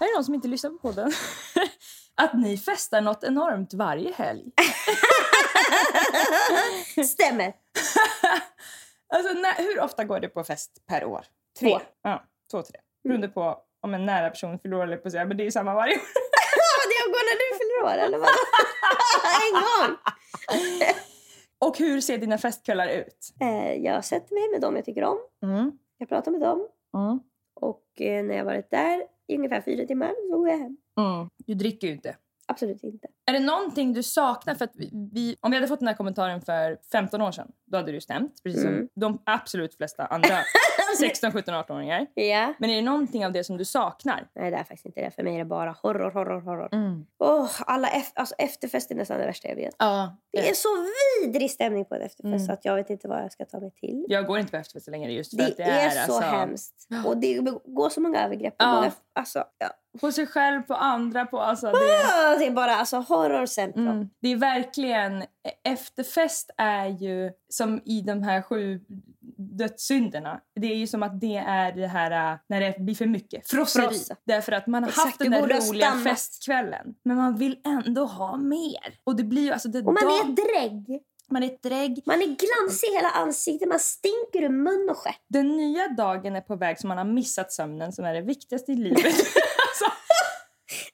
A: Här är någon som inte lyssnar på podden. Att ni festar något enormt varje helg.
B: Stämmer.
A: Alltså, när, hur ofta går det på fest per år? Tre. Ja, två, Mm. tre. Beroende på om en nära person förlorar eller på sig. Men det är ju samma varje år.
B: Vad det går när du fyller år eller vad? en gång.
A: Och hur ser dina festkvällar ut?
B: Eh, jag sätter mig med dem jag tycker om.
A: Mm.
B: Jag pratar med dem.
A: Mm.
B: Och eh, när jag varit där i ungefär fyra timmar så går jag hem.
A: Du dricker ju inte.
B: Absolut inte.
A: Är det någonting du saknar? För att vi, vi, om vi hade fått den här kommentaren för 15 år sedan, då hade du stämt. Precis som
B: Mm.
A: de absolut flesta andra 16, 17, 18-åringar.
B: Ja.
A: Men är det någonting av det som du saknar?
B: Nej, det är faktiskt inte det. För mig är det bara horror, horror, horror.
A: Mm.
B: Åh, alla ef- alltså, efterfest är nästan det värsta jag vet.
A: Ja.
B: Det är så vidrig stämning på en efterfest
A: Mm.
B: att jag vet inte vad jag ska ta mig till.
A: Jag går inte på efterfester längre just för
B: Det,
A: att det
B: är, så
A: alltså,
B: hemskt. Och det går så många övergrepp.
A: Ja.
B: Ja. Många, alltså, ja.
A: På sig själv, på andra, på... Alltså, det,
B: Ah, det är bara alltså, horror centrum.
A: mm. det är verkligen... Efterfest är ju som i de här sju dödssynderna. Det är ju som att det är det här äh, när det blir för mycket. Frosseri.
B: Frossa.
A: Därför att man har
B: Exakt,
A: haft den
B: det
A: där
B: borde ha
A: roliga
B: stannat.
A: festkvällen. Men man vill ändå ha mer. Och det blir ju alltså... Det
B: Och man
A: dag-
B: är drägg.
A: man är ett drägg.
B: Man är glansig i hela ansiktet. Man stinker ur mun och stjärt.
A: Den nya dagen är på väg så man har missat sömnen som är det viktigaste i livet. alltså,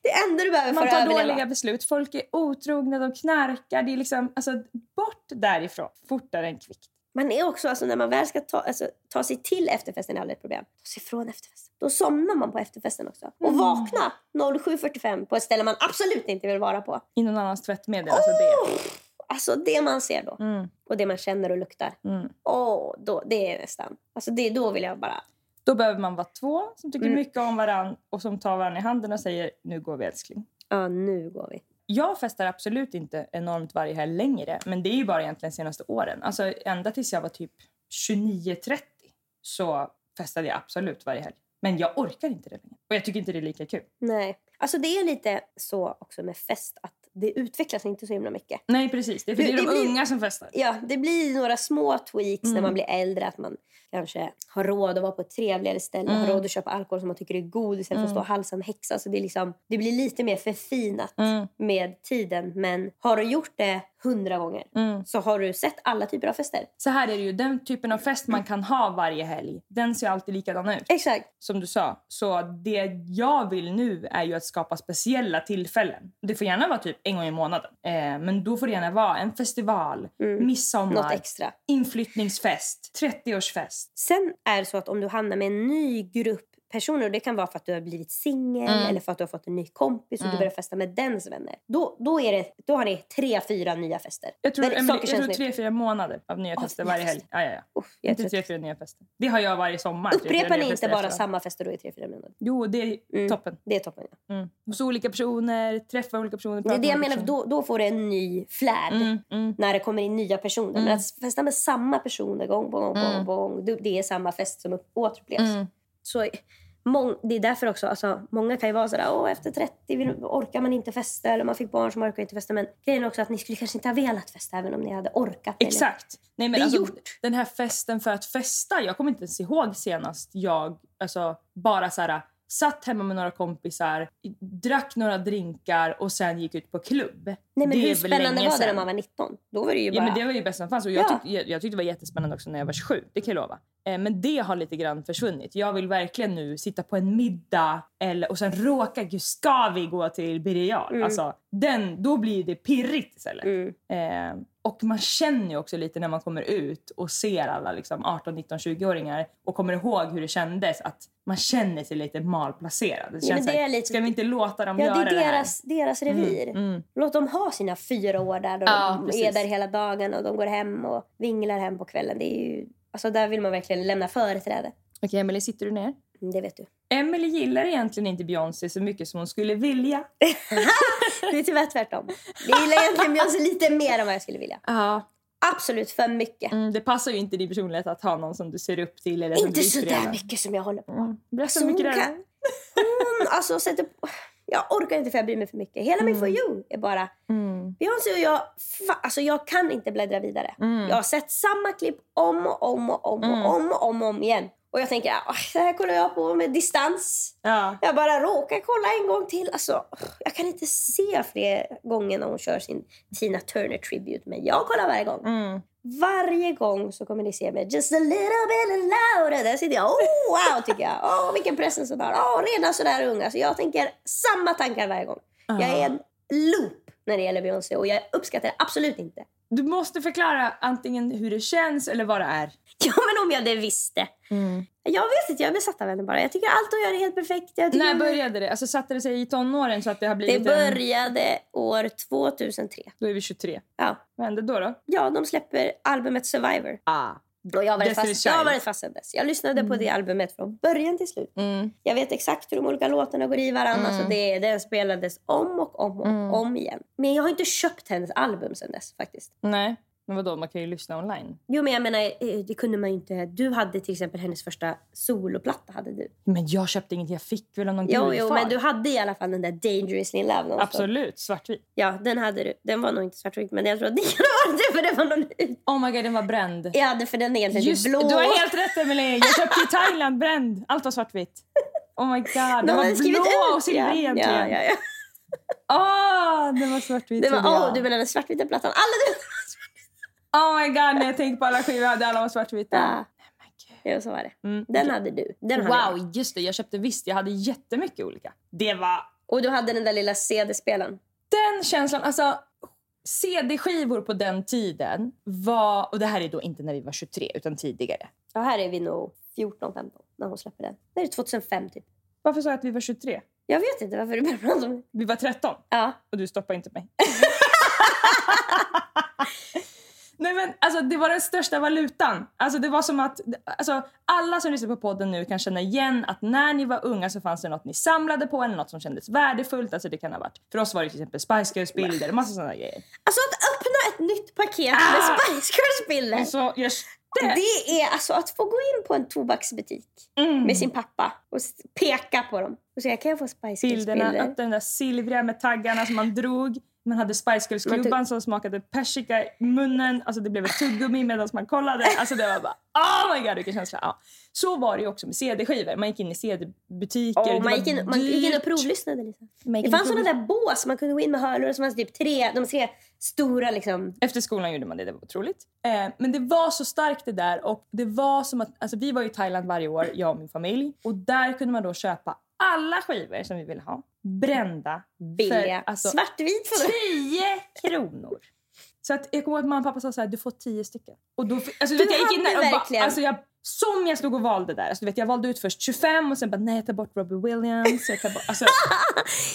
B: Det enda du behöver
A: Man
B: för att
A: tar
B: överleva.
A: dåliga beslut. Folk är otrogna, de knarkar. Det är liksom, alltså, bort därifrån, fortare än kvickt.
B: Man är också, alltså, när man väl ska ta, alltså, ta sig till efterfesten är aldrig ett problem. Ta sig från efterfesten. Då somnar man på efterfesten också.
A: Mm.
B: Och vakna 07.45 på ett ställe man absolut inte vill vara på.
A: I någon annans tvättmedel. Alltså det.
B: Alltså det man ser då.
A: Mm.
B: Och det man känner och luktar.
A: Mm.
B: Åh, då, det är nästan... Alltså det, då vill jag bara...
A: Då behöver man vara två som tycker
B: Mm.
A: mycket om varann och som tar varandra i handen och säger nu går vi älskling.
B: Ja, nu går vi.
A: Jag festar absolut inte enormt varje helg längre men det är ju bara egentligen senaste åren. Alltså ända tills jag var typ 29-30 så festade jag absolut varje helg. Men jag orkar inte det längre. Och jag tycker inte det är lika kul.
B: Nej. Alltså det är lite så också med fest att det utvecklas inte så himla mycket.
A: Nej precis, det är för
B: Det-
A: det är de
B: det blir-
A: unga som festar.
B: Ja, det blir några små tweaks när
A: Mm.
B: man blir äldre. Att man kanske har råd att vara på ett trevligare ställe.
A: Mm.
B: Har råd att köpa alkohol som man tycker är god istället för att stå och halsa en häxa. Så det, är liksom, det blir lite mer förfinat
A: Mm,
B: med tiden. Men har du gjort det hundra gånger
A: mm.
B: så har du sett alla typer av fester.
A: Så här är det ju, den typen av fest man kan ha varje helg, den ser alltid likadan ut.
B: Exakt.
A: Som du sa, så det jag vill nu är ju att skapa speciella tillfällen. Det får gärna vara typ en gång i månaden. Eh, men då får det gärna vara en festival,
B: Mm. Något
A: midsommar,
B: extra.
A: inflyttningsfest, 30-årsfest.
B: Sen är det så att om du hamnar med en ny grupp personer, och det kan vara för att du har blivit singel
A: Mm.
B: eller för att du har fått en ny kompis och
A: Mm.
B: du börjar festa med dens vänner. Då, då, är det, då har ni tre, fyra nya fester.
A: Jag tror,
B: Där
A: Emily,
B: saker
A: jag
B: känns
A: tror
B: nytt.
A: tre, fyra månader av nya
B: Av
A: fester
B: nya
A: varje helg.
B: fester.
A: Ja, ja, ja.
B: Uff, jag är
A: Inte
B: trött.
A: tre, fyra nya fester. Det har jag varje sommar. tre, fyra
B: Upprepar
A: nya
B: ni inte
A: fester alltså.
B: bara
A: efter
B: samma fester då i tre, fyra månader?
A: varandra. Jo, det är
B: Mm.
A: toppen.
B: Det är toppen. Ja.
A: Mm. Hos olika personer, träffa olika personer.
B: Det är
A: prata
B: det jag
A: med olika
B: menar, för då, då får det en ny flärd.
A: personer. Mm, mm.
B: När det kommer in nya personer. Men att festa med samma personer gång på gång på gång, på gång det- det är samma fest som upp- återupplevs.
A: Mm.
B: Så mång, det är därför också, alltså, många kan ju vara sådär, Åh, efter 30 vill, orkar man inte festa eller man fick barn som orkar inte festa. Men grejen är också att ni skulle kanske inte ha velat festa även om ni hade orkat. eller-
A: Exakt. Nej, men
B: Det är
A: alltså,
B: gjort.
A: Den här festen för att festa. Jag kommer inte ens ihåg senast jag alltså, bara så här, satt hemma med några kompisar, i- drack några drinkar och sen gick ut på klubb.
B: Nej, men
A: Det
B: hur
A: är väl
B: spännande
A: länge
B: var det när
A: sedan.
B: man var 19? Då var det ju bara...
A: Ja, men det var ju bäst som fanns. Och jag,
B: Ja.
A: tyck, jag, jag tyckte det var jättespännande också när jag var 27. Det kan jag lova. Eh, Men det har lite grann försvunnit. Jag vill verkligen nu sitta på en middag eller, och sen råka, gud ska vi gå till Birger Jarl?
B: Mm.
A: Alltså, den, då blir det pirrigt istället.
B: Mm.
A: Eh, och man känner ju också lite när man kommer ut och ser alla liksom 18, 19, 20-åringar och kommer ihåg hur det kändes att man känner sig lite malplacerad. Det känns
B: det
A: så här,
B: är lite-
A: Ska vi inte låta dem
B: Ja,
A: göra
B: det
A: det,
B: är deras, deras
A: här?
B: revir.
A: Mm, mm.
B: Låt dem ha sina fyra år där. Då
A: Ja,
B: de
A: precis.
B: är där hela dagen och de går hem och vinglar hem på kvällen. Det är ju, alltså där vill man verkligen lämna företräde.
A: Okej, Emelie, sitter du ner?
B: Mm, Det vet du.
A: Emily gillar egentligen inte Beyoncé så mycket som hon skulle vilja.
B: Det är tyvärr tvärtom. Jag gillar egentligen Beyoncé lite mer än vad jag skulle vilja.
A: Ja.
B: Absolut för mycket.
A: Mm, det passar ju inte din personlighet att ha någon som du ser upp till. Eller som
B: Inte
A: du
B: så där
A: inspirerar.
B: mycket som jag håller på.
A: Mm. Berätta
B: Alltså,
A: hur
B: hon
A: mycket det är.
B: kan- Hon alltså sätter på... Jag orkar inte för jag bryr mig för mycket. Hela min For You är bara...
A: Mm.
B: Beyoncé och jag... Fa, alltså jag kan inte bläddra vidare.
A: Mm.
B: Jag har sett samma klipp om och om och om
A: Mm.
B: och om och om, och om igen. Och jag tänker, "Ah, det här kollar jag på med distans.
A: Ja.
B: Jag bara råkar kolla en gång till. Alltså, jag kan inte se fler gånger när hon kör sin Tina Turner tribute. Men jag kollar varje gång.
A: Mm.
B: Varje gång så kommer ni se mig just a little bit louder. Där sitter jag. Oh, wow, tycker jag. Åh, vilken presence hon har. Åh, redan sådär ung. Alltså, jag tänker samma tankar varje gång. Jag är en
A: Ah.
B: loop när det gäller Beyoncé och jag uppskattar det absolut inte.
A: Du måste förklara antingen hur det känns eller vad det är.
B: Ja, men om jag det visste.
A: Mm.
B: Jag vet inte, jag är besatt av henne bara. Jag tycker allt hon gör är helt perfekt. Jag tycker
A: När började det? Alltså satte det sig i tonåren så att det har
B: Mm. Det
A: blivit en...
B: började år 2003.
A: Då är vi 23.
B: Ja,
A: Vad hände då? då?
B: ja de släpper albumet Survivor.
A: Ah.
B: Och jag har varit
A: Destiny's
B: fast, jag har
A: Child.
B: varit fast sedan dess. Jag lyssnade på det albumet från början till slut.
A: Mm.
B: Jag vet exakt hur de olika låtarna går i varandra. Så det, den spelades om och om och
A: Mm.
B: om igen. Men jag har inte köpt hennes album sedan dess faktiskt.
A: Nej, men vadå? Man kan ju lyssna online.
B: Jo men jag menar, eh, det kunde man ju inte. Du hade till exempel hennes första soloplatta hade du.
A: Men jag köpte inget. Jag fick väl av någon
B: Jo,
A: gudfar.
B: jo men du hade i alla fall den där Dangerously in Love. någonstans.
A: Absolut, svartvit.
B: Ja, den hade du. Den var nog inte svartvit men jag tror att det kan ha varit det för det var någon ut.
A: Oh my god, den var bränd.
B: Jag hade för den är egentligen typ
A: Just
B: blå.
A: du har helt rätt Emelie. Jag köpte i Thailand, bränd. Allt var svartvitt. Oh my god, den
B: De
A: var
B: hade skrivit
A: blå
B: ut
A: och silvrig
B: ja,
A: egentligen.
B: ja, ja, ja.
A: Åh, den var svartvit
B: Det var,
A: trodde jag.
B: åh, du menar den svartvita plattan? Alla du!
A: Oh my god, när jag tänker på alla skivor jag hade, alla var svartvita.
B: Ja. Ja, så var det. Den hade du. Den hade jag.
A: Wow, just det. Jag köpte visst, jag hade jättemycket olika. Det var...
B: Och du hade den där lilla CD-spelaren.
A: Den känslan, alltså CD-skivor på den tiden var, och det här är då inte när vi var 23 utan tidigare.
B: Ja, här är vi nog 14-15 när hon släpper den. Det är 2005 typ.
A: Varför sa jag att vi var 23?
B: Jag vet inte varför du börjar prata om det.
A: Vi var 13
B: Ja.
A: och du stoppade inte mig. Nej men alltså det var den största valutan. Alltså det var som att, alltså alla som lyssnar på podden nu kan känna igen att när ni var unga så fanns det något ni samlade på eller något som kändes värdefullt. Alltså det kan ha varit, för oss var det till exempel Spice Girls bilder och massa sådana grejer.
B: Alltså att öppna ett nytt paket med Spice Girls-bilder.
A: Så just Mm. det.
B: Ah! Alltså, Det är alltså att få gå in på en tobaksbutik med sin pappa och s- peka på dem och säga kan jag få Spice
A: bilderna,
B: Girls-bilder?
A: att den där silvriga med taggarna som man drog. Man hade Spice
B: Man
A: Girls-klubban som smakade persika i munnen. Alltså det blev ett tuggummi medan man kollade. Alltså det var bara oh my god vilken känsla. Ja. Så var det ju också med CD-skivor. Man gick in i CD-butiker. det
B: Och
A: var
B: man, gick in, man gick in och
A: dyrt.
B: provlyssnade. Liksom.
A: gick
B: Det
A: in
B: fanns
A: och
B: såna där bås man kunde gå in med hörlurar som fanns typ tre, de tre stora liksom.
A: Efter skolan gjorde man det, det var otroligt. Eh, men det var så starkt det där och det var som att, alltså vi var ju i Thailand varje år, jag och min familj. Och där kunde man då köpa alla skivor som vi ville ha. Brända.
B: Billiga.
A: För, alltså,
B: Svartvit för det.
A: 10 kronor. Så att jag kommer ihåg att mamma och pappa sa så här, du får 10 stycken. Och då, fick- alltså, du vet, jag gick in
B: hade
A: där och bara,
B: verkligen-
A: alltså, jag, som jag stod och valde där. Alltså, du vet, jag valde ut först 25 och sen bara, nej jag tar bort Robbie Williams. Jag tar bort, alltså,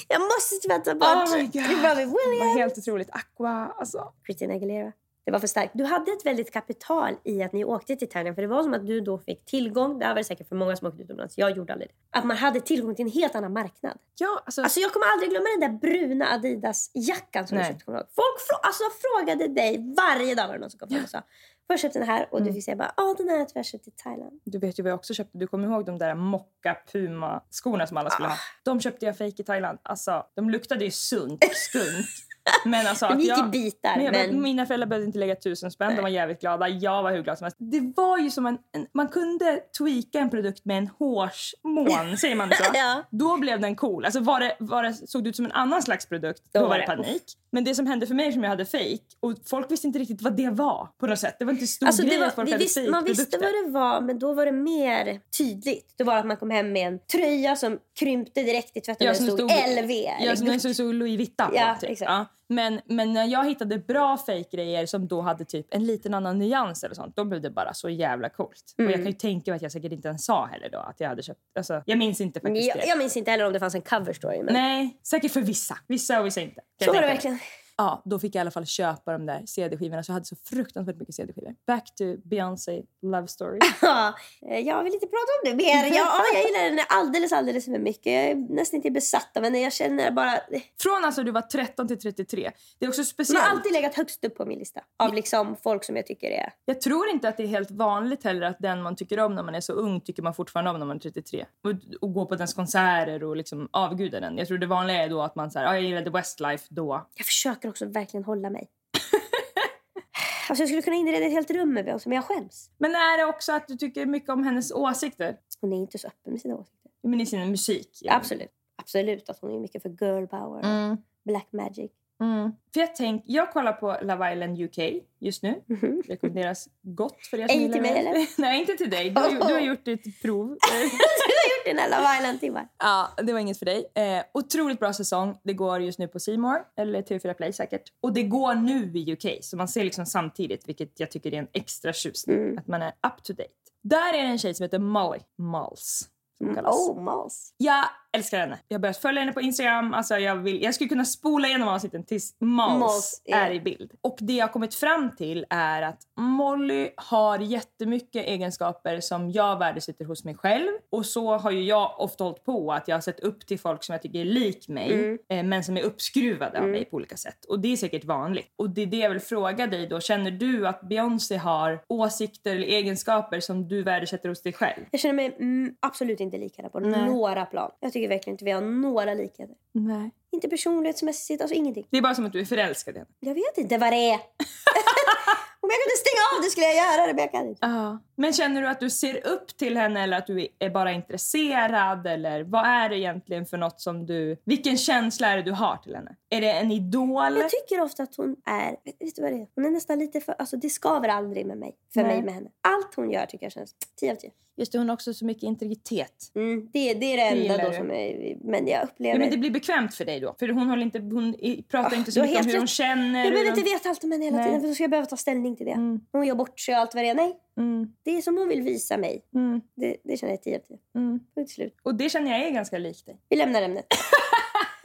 B: Jag måste tyvärr ta bort
A: oh my god.
B: Robbie
A: Det var
B: Williams.
A: helt otroligt. Aqua, alltså.
B: Christina Aguilera. Det var för starkt. Du hade ett väldigt kapital i att ni åkte till Thailand. För det var som att du då fick tillgång. Det här var det säkert för många som åkte utomlands. Jag gjorde aldrig det. Att man hade tillgång till en helt annan marknad.
A: Ja, alltså,
B: Alltså jag kommer aldrig glömma den där bruna Adidas-jackan som
A: Nej.
B: du köpte. Kommer du ihåg? Folk frå- alltså, frågade dig varje dag var det någon som kom fram och sa. Får jag köpa den här?
A: Mm.
B: Och du fick säga bara, ja den här har jag tyvärr köpt i Thailand.
A: du vet ju vad jag också köpte. Du kommer ihåg de där mocka puma skorna som alla skulle ha.
B: Ah.
A: De köpte jag fake i Thailand. Alltså, de luktade ju sunt, skumt. Men alltså,
B: De
A: att
B: gick
A: jag,
B: i bitar.
A: Men
B: Men
A: jag, bara, Mina föräldrar behövde inte lägga tusen spänn. De var jävligt glada. Jag var hur glad som helst. Det var ju som en, en man kunde tweaka en produkt med en hårsmån, säger man så?
B: Ja.
A: Då blev den cool. Alltså var det, var det, såg det ut som en annan slags produkt, då, var det panik. Men det som hände för mig som jag hade fake och folk visste inte riktigt vad det var på något sätt. Det var inte en stor
B: Alltså,
A: grej
B: det
A: att
B: var,
A: folk
B: vi
A: hade
B: visste, man visste
A: fake-produkter.
B: vad det var, men då var det mer tydligt. Då var det att man kom hem med en tröja som krympte direkt i tvätten.
A: Ja,
B: där
A: som
B: det
A: det
B: stod Liksom.
A: stod-
B: LV.
A: Ja, som
B: eller
A: det såg Louis Vuitton
B: Ja,
A: på. Typ.
B: exakt.
A: Ja. Men, men när jag hittade bra fake-grejer som då hade typ en liten annan nyans eller sånt, då blev det bara så jävla coolt. Och
B: Mm.
A: jag kan ju tänka mig att jag säkert inte ens sa heller då att jag hade köpt. Alltså, jag minns inte
B: Gud.
A: faktiskt
B: jag,
A: det.
B: jag minns inte heller om det fanns en cover story. Men
A: Nej, säkert för vissa. Vissa och vissa inte. kan jag
B: så var
A: tänka
B: det
A: mig.
B: verkligen.
A: Ja, då fick jag i alla fall köpa de där CD-skivorna så jag hade så fruktansvärt mycket CD-skivor. Back to Beyoncé Love Story.
B: Ja, eh, jag vill inte prata om det mer. Jag, ja, jag gillar den alldeles, alldeles för mycket. Jag är nästan inte besatt av henne. Jag känner bara...
A: Från alltså du var 13 till 33. Det är också
B: Hon
A: speciellt.
B: har alltid legat högst upp på min lista. Av liksom folk som jag tycker är...
A: Jag tror inte att det är helt vanligt heller att den man tycker om när man är så ung tycker man fortfarande om när man är 33. Och, och gå på dens konserter och liksom avguda den. Jag tror det vanliga är då att man säger ah, jag gillade Westlife då.
B: Jag försöker också verkligen hålla mig. Alltså jag skulle kunna inreda ett helt rum med Beyoncé, men jag skäms.
A: Men är det också att du tycker mycket om hennes åsikter?
B: Hon är inte så öppen med sina åsikter.
A: Men i sin musik? ja.
B: Absolut. Absolut att hon är mycket för girl power,
A: Mm.
B: black magic.
A: Mm. För jag, tänk, jag kollar på Love Island UK just nu.
B: Mhm.
A: Rekommenderas gott för er som
B: Ej
A: gillar
B: till mig,
A: det.
B: eller?
A: Nej, inte till dig. Du, har ju- du har gjort ditt prov.
B: du har gjort dina Love Island-timmar.
A: Ja, det var inget för dig. Eh, otroligt bra säsong. Det går just nu på Seymour eller TV4 Play säkert. Och det går nu i UK, så man ser liksom samtidigt, vilket jag tycker är en extra tjusning.
B: Mm.
A: Att man är up to date. Där är det en tjej som heter Molly. Malls. Som hon kallas.
B: Oh, Mals.
A: Jag älskar henne. Jag har börjat följa henne på Instagram. Alltså jag, vill, jag skulle kunna spola igenom avsnitten tills Mals,
B: Mals, ja.
A: är i bild. Och det jag har kommit fram till är att Molly har jättemycket egenskaper som jag värdesätter hos mig själv. Och så har ju jag ofta hållit på att jag har sett upp till folk som jag tycker är lik mig eh, men som är uppskruvade av mig på olika sätt. Och det är säkert vanligt. Och det är det jag vill fråga dig då. Känner du att Beyoncé har åsikter eller egenskaper som du värdesätter hos dig själv?
B: Jag känner mig mm, absolut inte lik henne på några plan. Jag tycker verkligen inte vi har några likheter.
A: Nej.
B: Inte personlighetsmässigt, alltså ingenting.
A: Det är bara som att du är förälskad i henne.
B: Jag vet inte vad det är. Om jag kunde stänga av det skulle jag göra det, men jag kan inte.
A: Ja. Men känner du att du ser upp till henne eller att du är bara intresserad? Eller vad är det egentligen för något som du... Vilken känsla är det du har till henne? Är det en idol?
B: Jag tycker ofta att hon är, vet, vet du vad det är? Hon är nästan lite för, alltså det skaver aldrig med mig, för
A: Nej.
B: mig med henne. Allt hon gör tycker jag känns 10 av 10.
A: Just det, hon har också så mycket integritet.
B: Mm, det, det är det
A: gillar
B: enda då
A: du.
B: som är, men jag upplever...
A: Ja, men det blir bekvämt för dig då. För hon, håller inte, hon i- pratar
B: Ah,
A: inte
B: du
A: så
B: har
A: mycket om
B: helt
A: hur hon
B: rätt.
A: känner.
B: jag
A: hur
B: behöver
A: hon-
B: inte veta allt om henne hela
A: Nej.
B: tiden för då ska jag behöva ta ställning till det.
A: Mm,
B: Hon gör bort sig och allt vad det är. Nej,
A: mm,
B: det är som hon vill visa mig.
A: mm,
B: Det, det känner jag 10 av 10.
A: mm.
B: Punkt slut.
A: Och det känner jag är ganska likt dig.
B: Vi lämnar ämnet.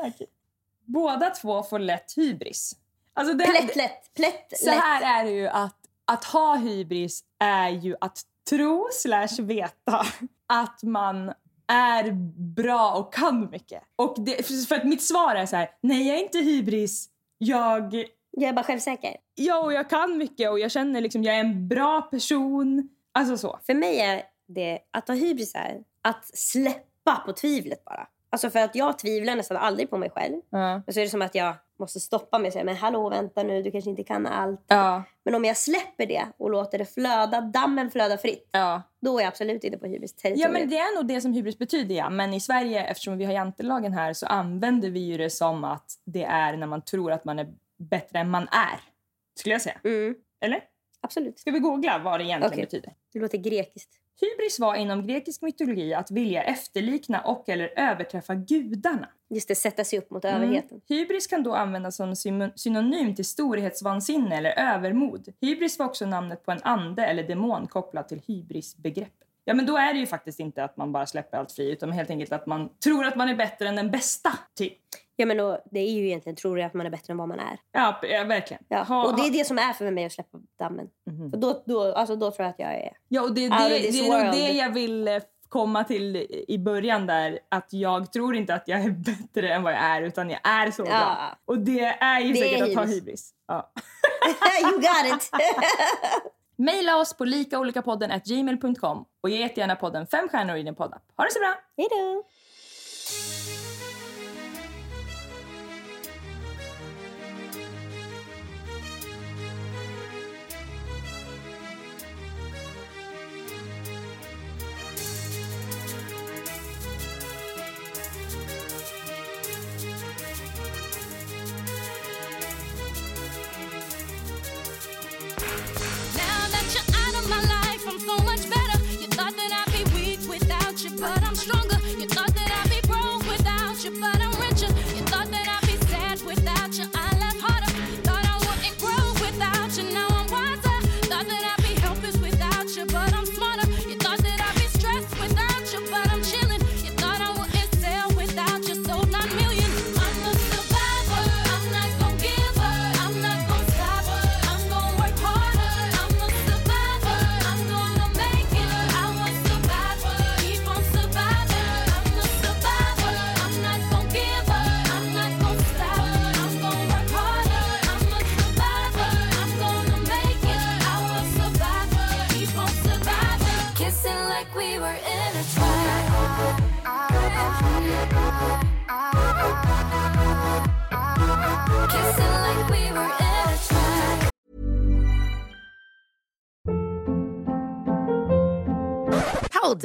A: Båda två får lätt hybris. Alltså det,
B: Plätt lätt. Plätt
A: Så
B: lätt.
A: här är det ju att, att ha hybris är ju att tro slash veta att man är bra och kan mycket. Och det, för- för att mitt svar är så här, nej jag är inte hybris, jag,
B: Jag är bara självsäker.
A: ja, och jag kan mycket och jag känner liksom jag är en bra person. Alltså så.
B: För mig är det att ha hybris är att släppa på tvivlet bara. Alltså för att jag tvivlar nästan aldrig på mig själv.
A: Ja.
B: Men så är det som att jag måste stoppa mig och säga men hallå vänta nu du kanske inte kan allt.
A: Ja.
B: Men om jag släpper det och låter det flöda, dammen flöda fritt.
A: ja.
B: Då är jag absolut inte på hybris
A: Ja men det är nog det som hybris betyder ja. Men i Sverige eftersom vi har jantelagen här så använder vi ju det som att det är när man tror att man är bättre än man är. Skulle jag säga.
B: Mm,
A: Eller?
B: absolut.
A: Ska vi googla vad det egentligen
B: Okej.
A: betyder?
B: Det låter grekiskt.
A: Hybris var inom grekisk mytologi att vilja efterlikna och eller överträffa gudarna.
B: Just det, sätta sig upp mot
A: Mm.
B: överheten.
A: Hybris kan då användas som sym- synonym till storhetsvansinne eller övermod. Hybris var också namnet på en ande eller demon kopplad till hybrisbegreppet. Ja, men då är det ju faktiskt inte att man bara släpper allt fri utan helt enkelt att man tror att man är bättre än den bästa. Typ.
B: Ja men då, det är ju egentligen, tror jag att man är bättre än vad man är.
A: Ja, p- ja, verkligen.
B: Ja.
A: Ha-
B: och det
A: ha- Mhm.
B: är det som är för mig att släppa dammen. För då, då, alltså, då tror jag att jag är...
A: Ja, och det, det,
B: Out of
A: det,
B: this
A: är nog
B: world.
A: det jag vill eh, komma till i- i början där. Att jag tror inte att jag är bättre än vad jag är utan jag är så bra.
B: Ja.
A: Och det är ju
B: Det
A: säkert
B: är
A: att ha
B: hybris.
A: hybris. Ja.
B: you got it!
A: Maila oss på likaolikapodden@gmail.com och ge jättegärna podden fem stjärnor i din poddapp. Ha det så bra!
B: Hejdå!
C: Now that you're out of my life, I'm so much better. You thought that I'd be weak without you, but I'm stronger. You thought that I'd be broke without you, but I'm richer. You thought that I'd be sad without you, I laugh harder. Thought I wouldn't grow without you, now I'm wiser. Thought that I'd be helpless without you, but I'm smarter. You thought that I'd be stressed without you, but I'm chilling. You thought I wouldn't sell without you, sold nine million. I'm a survivor. I'm not gon' give up. I'm not gon' stop. I'm gon' work harder. I'm a survivor. I'm gonna make it. I'm a survivor. Keep on surviving. I'm a survivor. I'm not gon' give up. I'm not gon' stop. I'm gon' work harder. I'm a survivor. I'm gonna make it. I'm a survivor. Keep on surviving. Kissing like we were intertwined. Kissing like we were in a trap.
D: Hold